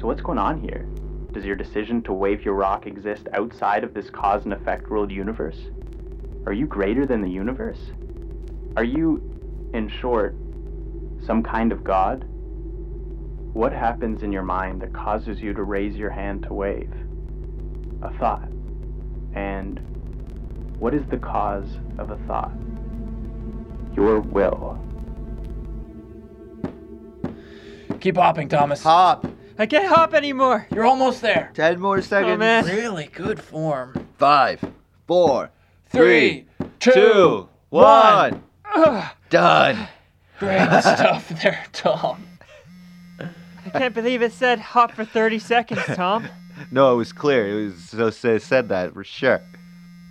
[SPEAKER 5] So, what's going on here? Does your decision to wave your rock exist outside of this cause and effect world universe? Are you greater than the universe? Are you, in short, some kind of god? What happens in your mind that causes you to raise your hand to wave? A thought. And what is the cause of a thought? Your will.
[SPEAKER 7] Keep hopping, Thomas.
[SPEAKER 14] Hop.
[SPEAKER 13] I can't hop anymore.
[SPEAKER 7] You're almost there.
[SPEAKER 14] Ten more seconds.
[SPEAKER 13] man.
[SPEAKER 7] Really good form.
[SPEAKER 14] Five, four,
[SPEAKER 7] Three,
[SPEAKER 14] three,
[SPEAKER 7] two,
[SPEAKER 14] two, one.
[SPEAKER 7] Ugh.
[SPEAKER 14] Done.
[SPEAKER 7] Great stuff there, Tom.
[SPEAKER 13] I can't believe it said hop for 30 seconds, Tom.
[SPEAKER 14] No, it was clear. It was so so said that for sure.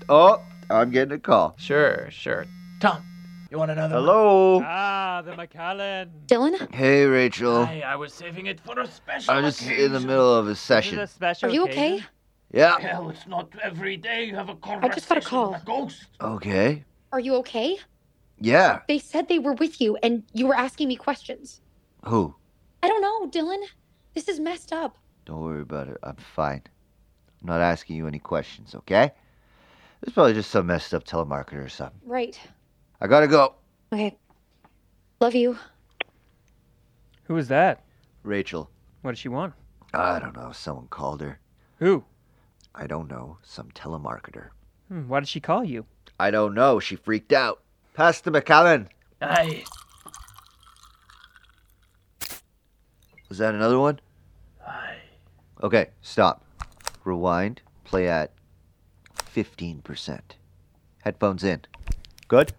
[SPEAKER 14] Oh, I'm getting a call.
[SPEAKER 7] Sure, sure. Tom, you want another?
[SPEAKER 14] Hello.
[SPEAKER 13] ah, the McAllen.
[SPEAKER 4] Dylan?
[SPEAKER 14] Hey, Rachel.
[SPEAKER 7] Hey, I was saving it for a special.
[SPEAKER 14] I'm just in the
[SPEAKER 7] occasion.
[SPEAKER 14] middle of a
[SPEAKER 13] Is it
[SPEAKER 14] session.
[SPEAKER 13] a special
[SPEAKER 4] Are you
[SPEAKER 13] occasion?
[SPEAKER 4] okay?
[SPEAKER 14] Yeah.
[SPEAKER 7] Hell, it's not every day you have a conversation
[SPEAKER 4] I just got a call.
[SPEAKER 7] with a ghost.
[SPEAKER 14] Okay.
[SPEAKER 4] Are you okay?
[SPEAKER 14] Yeah.
[SPEAKER 4] They said they were with you and you were asking me questions.
[SPEAKER 14] Who?
[SPEAKER 4] I don't know, Dylan. This is messed up.
[SPEAKER 14] Don't worry about it. I'm fine. I'm not asking you any questions, okay? It's probably just some messed up telemarketer or something.
[SPEAKER 4] Right.
[SPEAKER 14] I gotta go.
[SPEAKER 4] Okay. Love you.
[SPEAKER 13] Who was that?
[SPEAKER 14] Rachel.
[SPEAKER 13] What did she want?
[SPEAKER 14] I don't know. Someone called her.
[SPEAKER 13] Who?
[SPEAKER 14] I don't know. Some telemarketer.
[SPEAKER 13] Hmm, why did she call you?
[SPEAKER 14] I don't know. She freaked out. Pass the McAllen.
[SPEAKER 7] Aye.
[SPEAKER 14] Was that another one?
[SPEAKER 7] Aye.
[SPEAKER 14] Okay, stop. Rewind. Play at 15%. Headphones in. Good?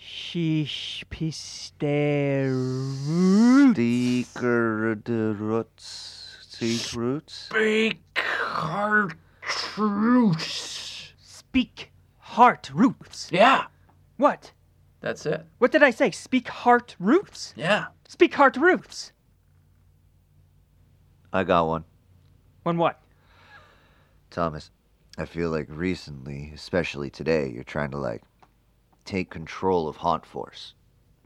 [SPEAKER 13] Sheesh, pister.
[SPEAKER 14] Seeker the roots. Seek roots.
[SPEAKER 7] Big hard truce.
[SPEAKER 13] Speak heart roots.
[SPEAKER 7] Yeah,
[SPEAKER 13] What?
[SPEAKER 7] that's it.
[SPEAKER 13] What did I say? Speak heart roots?
[SPEAKER 7] Yeah.
[SPEAKER 13] Speak heart roots.
[SPEAKER 14] I got one.
[SPEAKER 13] On what?
[SPEAKER 14] Thomas, I feel like recently, especially today, you're trying to like take control of Haunt Force.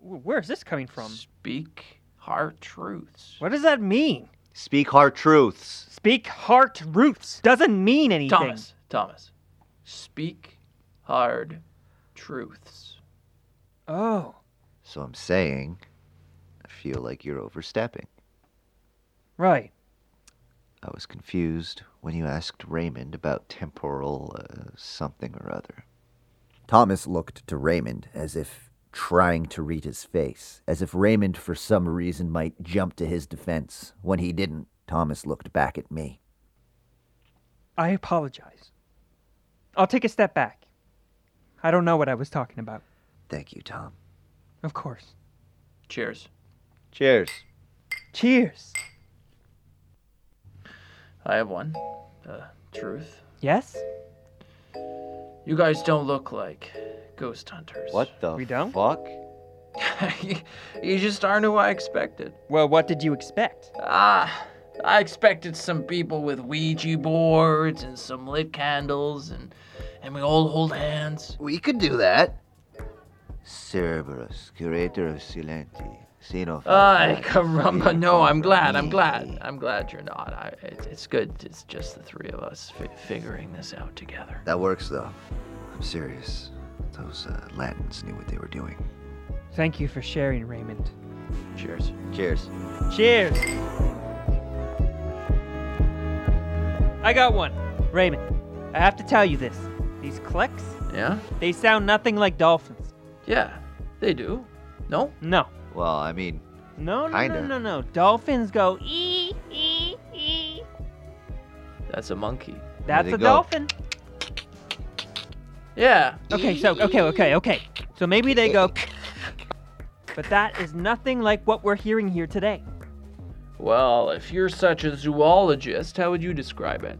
[SPEAKER 13] W- Where is this coming from?
[SPEAKER 7] Speak hard truths.
[SPEAKER 13] What does that mean?
[SPEAKER 14] Speak hard truths.
[SPEAKER 13] Speak heart roots doesn't mean anything.
[SPEAKER 7] Thomas, Thomas, speak hard truths.
[SPEAKER 13] Oh,
[SPEAKER 14] So I'm saying, I feel like you're overstepping.
[SPEAKER 13] right.
[SPEAKER 14] I was confused when you asked Raymond about temporal uh, something or other.
[SPEAKER 1] Thomas looked to Raymond as if trying to read his face, as if Raymond for some reason might jump to his defense. When he didn't, Thomas looked back at me.
[SPEAKER 13] I apologize. I'll take a step back. I don't know what I was talking about.
[SPEAKER 14] Thank you, Tom.
[SPEAKER 13] Of course.
[SPEAKER 7] Cheers.
[SPEAKER 14] Cheers.
[SPEAKER 13] Cheers.
[SPEAKER 7] I have one. Uh, truth.
[SPEAKER 13] Yes?
[SPEAKER 7] You guys don't look like ghost hunters.
[SPEAKER 14] What the
[SPEAKER 13] We don't?
[SPEAKER 14] fuck?
[SPEAKER 7] you just aren't who I expected.
[SPEAKER 13] Well, what did you expect?
[SPEAKER 7] Ah, I expected some people with Ouija boards and some lit candles and and we all hold hands.
[SPEAKER 14] We could do that. Cerberus, curator of Silenti, Xenophon.
[SPEAKER 7] Ay, caramba. No, I'm glad. I'm glad. I'm glad you're not. I, it, it's good. It's just the three of us fi- figuring this out together.
[SPEAKER 14] That works, though. I'm serious. Those uh, Latins knew what they were doing.
[SPEAKER 13] Thank you for sharing, Raymond.
[SPEAKER 7] Cheers.
[SPEAKER 14] Cheers.
[SPEAKER 13] Cheers. I got one. Raymond, I have to tell you this. These clicks,
[SPEAKER 7] Yeah?
[SPEAKER 13] they sound nothing like dolphins.
[SPEAKER 7] Yeah, they do. No?
[SPEAKER 13] No.
[SPEAKER 14] Well, I mean,
[SPEAKER 13] No, no,
[SPEAKER 14] Kinda.
[SPEAKER 13] no, no, no. Dolphins go e- ee, ee, ee.
[SPEAKER 7] That's a monkey.
[SPEAKER 13] That's
[SPEAKER 7] they
[SPEAKER 13] a
[SPEAKER 7] go.
[SPEAKER 13] dolphin.
[SPEAKER 7] Yeah.
[SPEAKER 13] Okay, so, okay, okay, okay. So maybe they go. but that is nothing like what we're hearing here today.
[SPEAKER 7] Well, if you're such a zoologist, how would you describe it?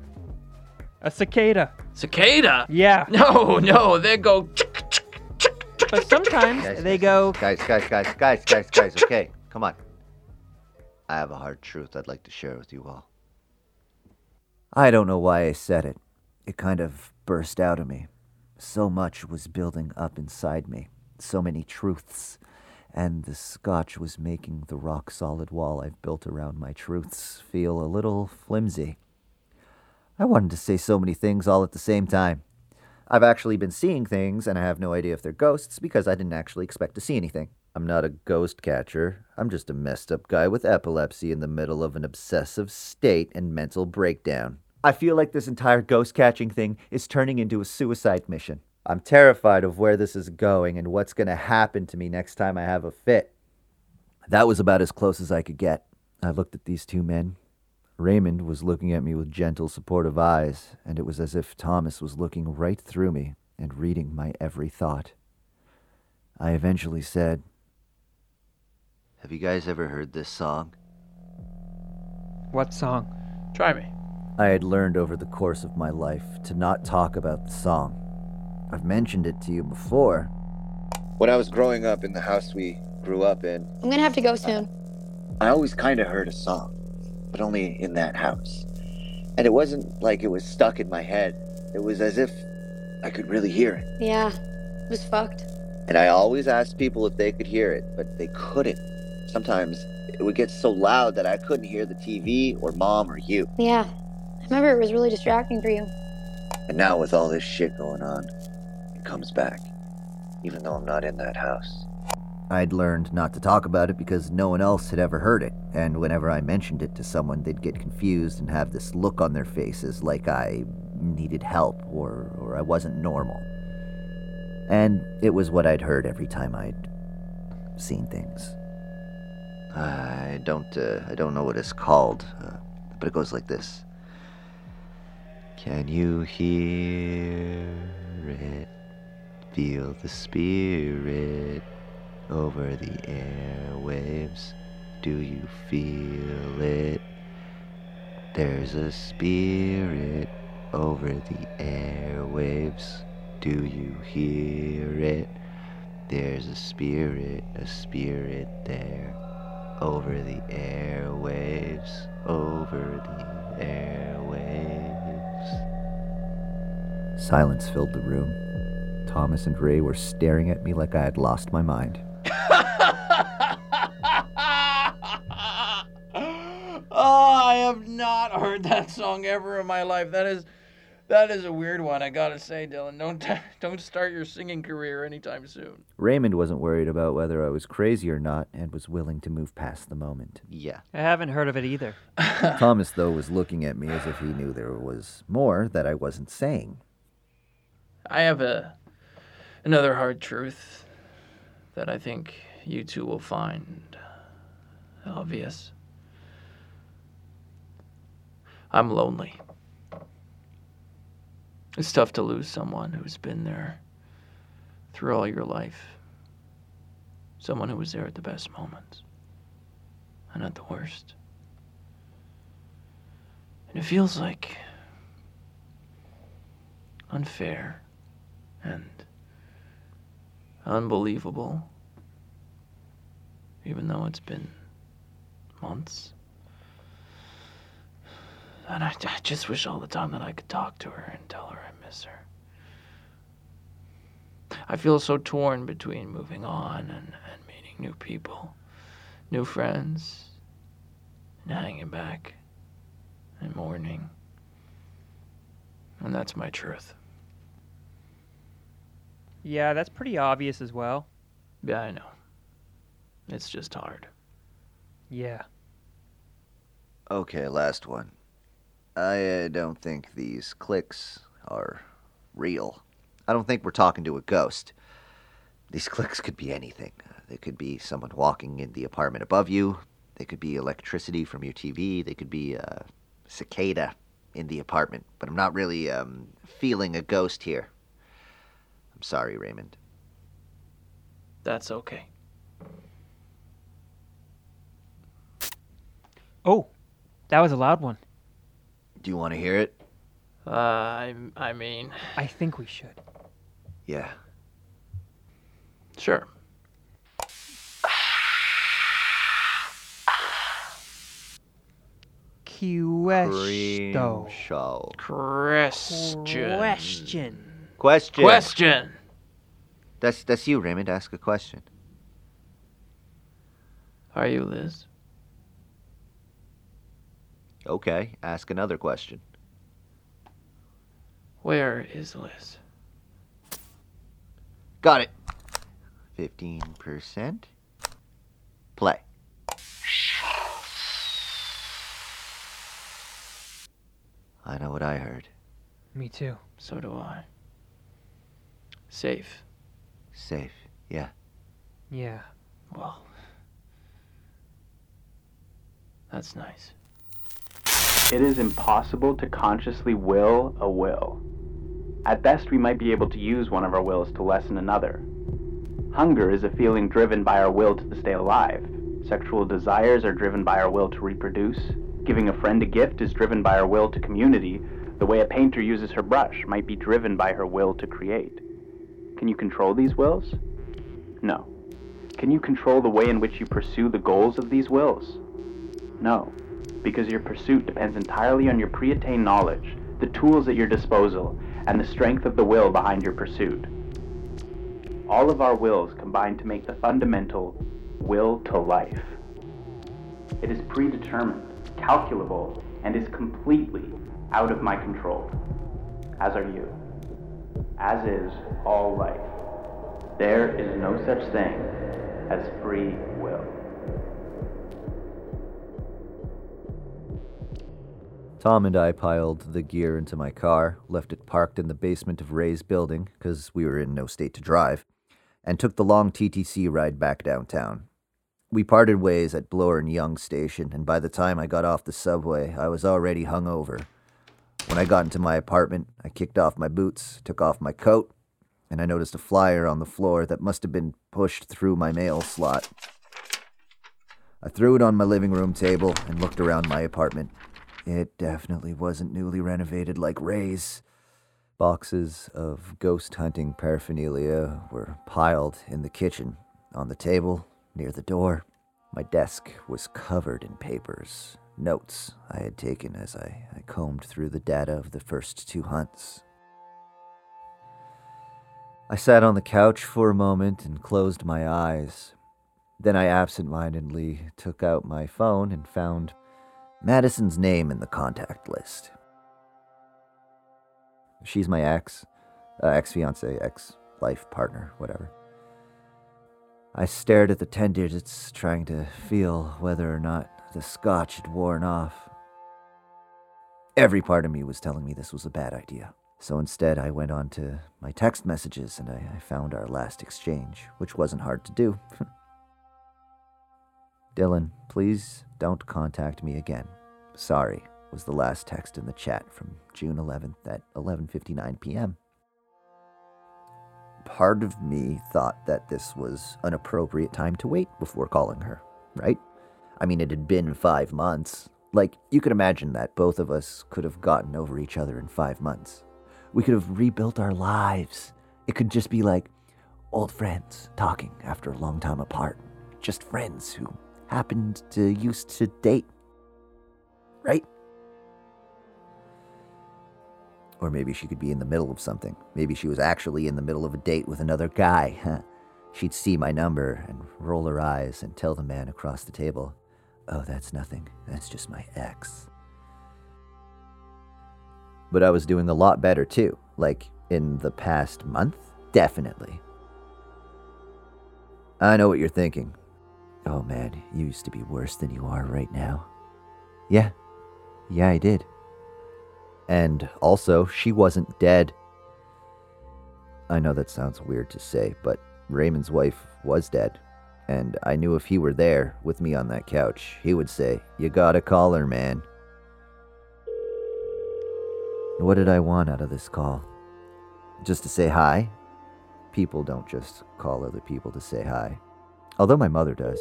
[SPEAKER 13] A cicada.
[SPEAKER 7] Cicada?
[SPEAKER 13] Yeah.
[SPEAKER 7] No, no, they go.
[SPEAKER 13] But sometimes they go.
[SPEAKER 14] Guys, guys, guys, guys, guys, guys. Okay, come on. I have a hard truth I'd like to share with you all.
[SPEAKER 1] I don't know why I said it. It kind of burst out of me. So much was building up inside me, so many truths. And the scotch was making the rock solid wall I've built around my truths feel a little flimsy. I wanted to say so many things all at the same time. I've actually been seeing things, and I have no idea if they're ghosts because I didn't actually expect to see anything. I'm not a ghost catcher. I'm just a messed up guy with epilepsy in the middle of an obsessive state and mental breakdown. I feel like this entire ghost catching thing is turning into a suicide mission. I'm terrified of where this is going and what's going to happen to me next time I have a fit. That was about as close as I could get. I looked at these two men. Raymond was looking at me with gentle, supportive eyes, and it was as if Thomas was looking right through me and reading my every thought. I eventually said,
[SPEAKER 14] Have you guys ever heard this song?
[SPEAKER 13] What song?
[SPEAKER 7] Try me.
[SPEAKER 1] I had learned over the course of my life to not talk about the song. I've mentioned it to you before.
[SPEAKER 6] When I was growing up in the house we grew up in,
[SPEAKER 4] I'm gonna have to go soon.
[SPEAKER 6] I always kind of heard a song, but only in that house. And it wasn't like it was stuck in my head, it was as if I could really hear it.
[SPEAKER 4] Yeah, it was fucked.
[SPEAKER 6] And I always asked people if they could hear it, but they couldn't. Sometimes it would get so loud that I couldn't hear the TV or mom or you.
[SPEAKER 4] Yeah, I remember it was really distracting for you.
[SPEAKER 6] And now, with all this shit going on, it comes back, even though I'm not in that house.
[SPEAKER 1] I'd learned not to talk about it because no one else had ever heard it, and whenever I mentioned it to someone, they'd get confused and have this look on their faces like I needed help or, or I wasn't normal. And it was what I'd heard every time I'd seen things.
[SPEAKER 14] I don't, uh, I don't know what it's called, uh, but it goes like this. Can you hear it? Feel the spirit over the airwaves. Do you feel it? There's a spirit over the airwaves. Do you hear it? There's a spirit, a spirit there. Over the airwaves, over the airwaves.
[SPEAKER 1] Silence filled the room. Thomas and Ray were staring at me like I had lost my mind.
[SPEAKER 7] Oh, I have not heard that song ever in my life. That is, that is a weird one. I gotta say, Dylan, don't don't start your singing career anytime soon.
[SPEAKER 1] Raymond wasn't worried about whether I was crazy or not and was willing to move past the moment.
[SPEAKER 14] Yeah.
[SPEAKER 13] I haven't heard of it either.
[SPEAKER 1] Thomas, though, was looking at me as if he knew there was more that I wasn't saying.
[SPEAKER 7] I have a another hard truth that I think you two will find obvious. I'm lonely. It's tough to lose someone who's been there through all your life. Someone who was there at the best moments and at the worst. And it feels like unfair and unbelievable, even though it's been months.
[SPEAKER 16] Then I, I just wish all the time that I could talk to her and tell her I miss her. I feel so torn between moving on and, and meeting new people, new friends, and hanging back and mourning. And that's my truth.
[SPEAKER 13] Yeah, that's pretty obvious as well.
[SPEAKER 16] Yeah, I know. It's just hard.
[SPEAKER 13] Yeah.
[SPEAKER 14] Okay, last one.
[SPEAKER 6] I uh, don't think these clicks are real. I don't think we're talking to a ghost.
[SPEAKER 14] These clicks could be anything. They could be someone walking in the apartment above you. They could be electricity from your TV. They could be a cicada in the apartment. But I'm not really um, feeling a ghost here. I'm sorry, Raymond.
[SPEAKER 16] That's okay.
[SPEAKER 13] Oh, that was a loud one.
[SPEAKER 14] Do you want to hear it?
[SPEAKER 16] Uh, I, I mean,
[SPEAKER 13] I think we should.
[SPEAKER 14] Yeah.
[SPEAKER 16] Sure.
[SPEAKER 13] Questo.
[SPEAKER 14] show.
[SPEAKER 16] Christian.
[SPEAKER 13] Question.
[SPEAKER 14] Question.
[SPEAKER 16] Question.
[SPEAKER 14] That's that's you, Raymond. Ask a question.
[SPEAKER 16] Are you Liz?
[SPEAKER 14] Okay, ask another question.
[SPEAKER 16] Where is Liz?
[SPEAKER 14] Got it. 15%. Play. I know what I heard.
[SPEAKER 13] Me too.
[SPEAKER 16] So do I. Safe.
[SPEAKER 14] Safe. Yeah.
[SPEAKER 13] Yeah.
[SPEAKER 16] Well, that's nice.
[SPEAKER 5] It is impossible to consciously will a will. At best, we might be able to use one of our wills to lessen another. Hunger is a feeling driven by our will to stay alive. Sexual desires are driven by our will to reproduce. Giving a friend a gift is driven by our will to community. The way a painter uses her brush might be driven by her will to create. Can you control these wills? No. Can you control the way in which you pursue the goals of these wills? No because your pursuit depends entirely on your pre attained knowledge, the tools at your disposal, and the strength of the will behind your pursuit. All of our wills combine to make the fundamental will to life. It is predetermined, calculable, and is completely out of my control, as are you, as is all life. There is no such thing as free will.
[SPEAKER 1] Tom and I piled the gear into my car, left it parked in the basement of Ray's building because we were in no state to drive, and took the long TTC ride back downtown. We parted ways at Bloor and Young station, and by the time I got off the subway, I was already hungover. When I got into my apartment, I kicked off my boots, took off my coat, and I noticed a flyer on the floor that must have been pushed through my mail slot. I threw it on my living room table and looked around my apartment. It definitely wasn't newly renovated like Ray's. Boxes of ghost hunting paraphernalia were piled in the kitchen, on the table, near the door. My desk was covered in papers, notes I had taken as I, I combed through the data of the first two hunts. I sat on the couch for a moment and closed my eyes. Then I absentmindedly took out my phone and found Madison's name in the contact list. She's my ex, uh, ex fiance, ex life partner, whatever. I stared at the 10 digits, trying to feel whether or not the scotch had worn off. Every part of me was telling me this was a bad idea. So instead, I went on to my text messages and I, I found our last exchange, which wasn't hard to do. Dylan, please don't contact me again. Sorry was the last text in the chat from June 11th at 11:59 p.m. Part of me thought that this was an appropriate time to wait before calling her, right? I mean, it had been 5 months. Like you could imagine that both of us could have gotten over each other in 5 months. We could have rebuilt our lives. It could just be like old friends talking after a long time apart. Just friends who happened to used to date. Right? Or maybe she could be in the middle of something. Maybe she was actually in the middle of a date with another guy. huh? She'd see my number and roll her eyes and tell the man across the table, Oh, that's nothing. That's just my ex. But I was doing a lot better too. Like in the past month? Definitely. I know what you're thinking. Oh man, you used to be worse than you are right now. Yeah. Yeah, I did. And also, she wasn't dead. I know that sounds weird to say, but Raymond's wife was dead. And I knew if he were there with me on that couch, he would say, You gotta call her, man. What did I want out of this call? Just to say hi? People don't just call other people to say hi. Although my mother does.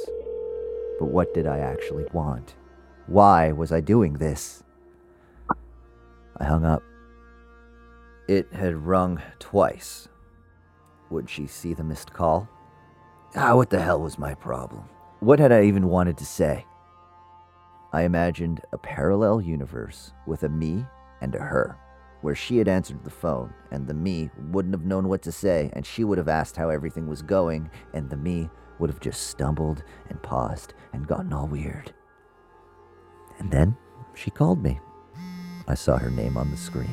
[SPEAKER 1] But what did I actually want? Why was I doing this? I hung up. It had rung twice. Would she see the missed call? Ah, what the hell was my problem? What had I even wanted to say? I imagined a parallel universe with a me and a her, where she had answered the phone and the me wouldn't have known what to say, and she would have asked how everything was going, and the me would have just stumbled and paused and gotten all weird. And then she called me. I saw her name on the screen.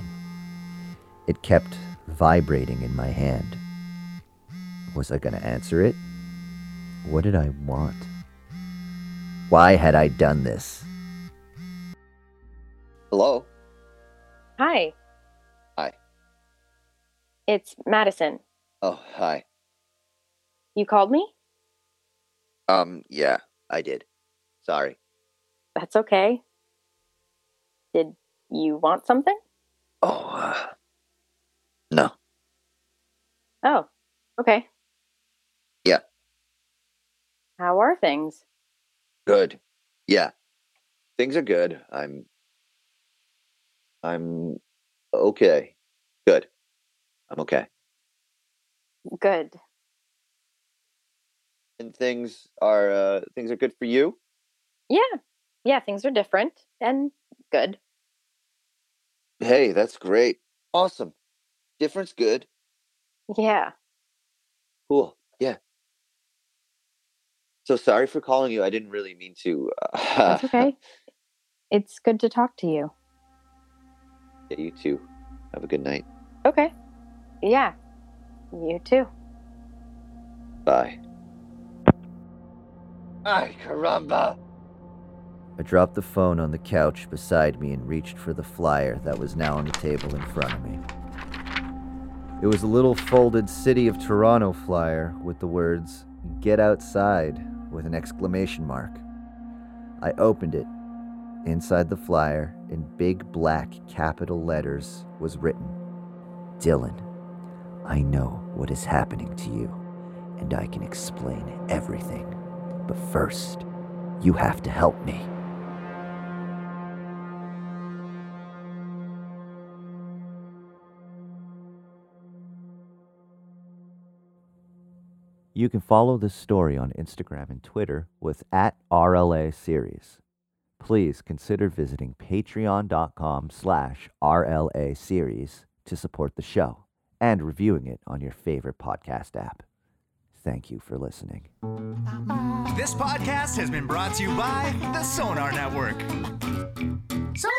[SPEAKER 1] It kept vibrating in my hand. Was I going to answer it? What did I want? Why had I done this?
[SPEAKER 14] Hello.
[SPEAKER 3] Hi.
[SPEAKER 14] Hi.
[SPEAKER 3] It's Madison.
[SPEAKER 14] Oh, hi.
[SPEAKER 3] You called me?
[SPEAKER 14] Um, yeah, I did. Sorry.
[SPEAKER 3] That's okay. Did you want something?
[SPEAKER 14] Oh, uh, no.
[SPEAKER 3] Oh, okay.
[SPEAKER 14] Yeah.
[SPEAKER 3] How are things?
[SPEAKER 14] Good. Yeah. Things are good. I'm I'm okay. Good. I'm okay.
[SPEAKER 3] Good.
[SPEAKER 14] And things are uh things are good for you?
[SPEAKER 3] Yeah. Yeah, things are different and good.
[SPEAKER 14] Hey, that's great. Awesome. Difference good.
[SPEAKER 3] Yeah.
[SPEAKER 14] Cool. Yeah. So sorry for calling you. I didn't really mean to. Uh,
[SPEAKER 3] That's okay. it's good to talk to you.
[SPEAKER 14] yeah, you too. Have a good night.
[SPEAKER 3] Okay. Yeah. You too.
[SPEAKER 14] Bye. Ay, caramba.
[SPEAKER 1] I dropped the phone on the couch beside me and reached for the flyer that was now on the table in front of me. It was a little folded City of Toronto flyer with the words, Get Outside, with an exclamation mark. I opened it. Inside the flyer, in big black capital letters, was written Dylan, I know what is happening to you, and I can explain everything. But first, you have to help me. You can follow this story on Instagram and Twitter with at RLA Series. Please consider visiting patreon.com slash RLA Series to support the show and reviewing it on your favorite podcast app. Thank you for listening.
[SPEAKER 17] This podcast has been brought to you by the Sonar Network.
[SPEAKER 18] So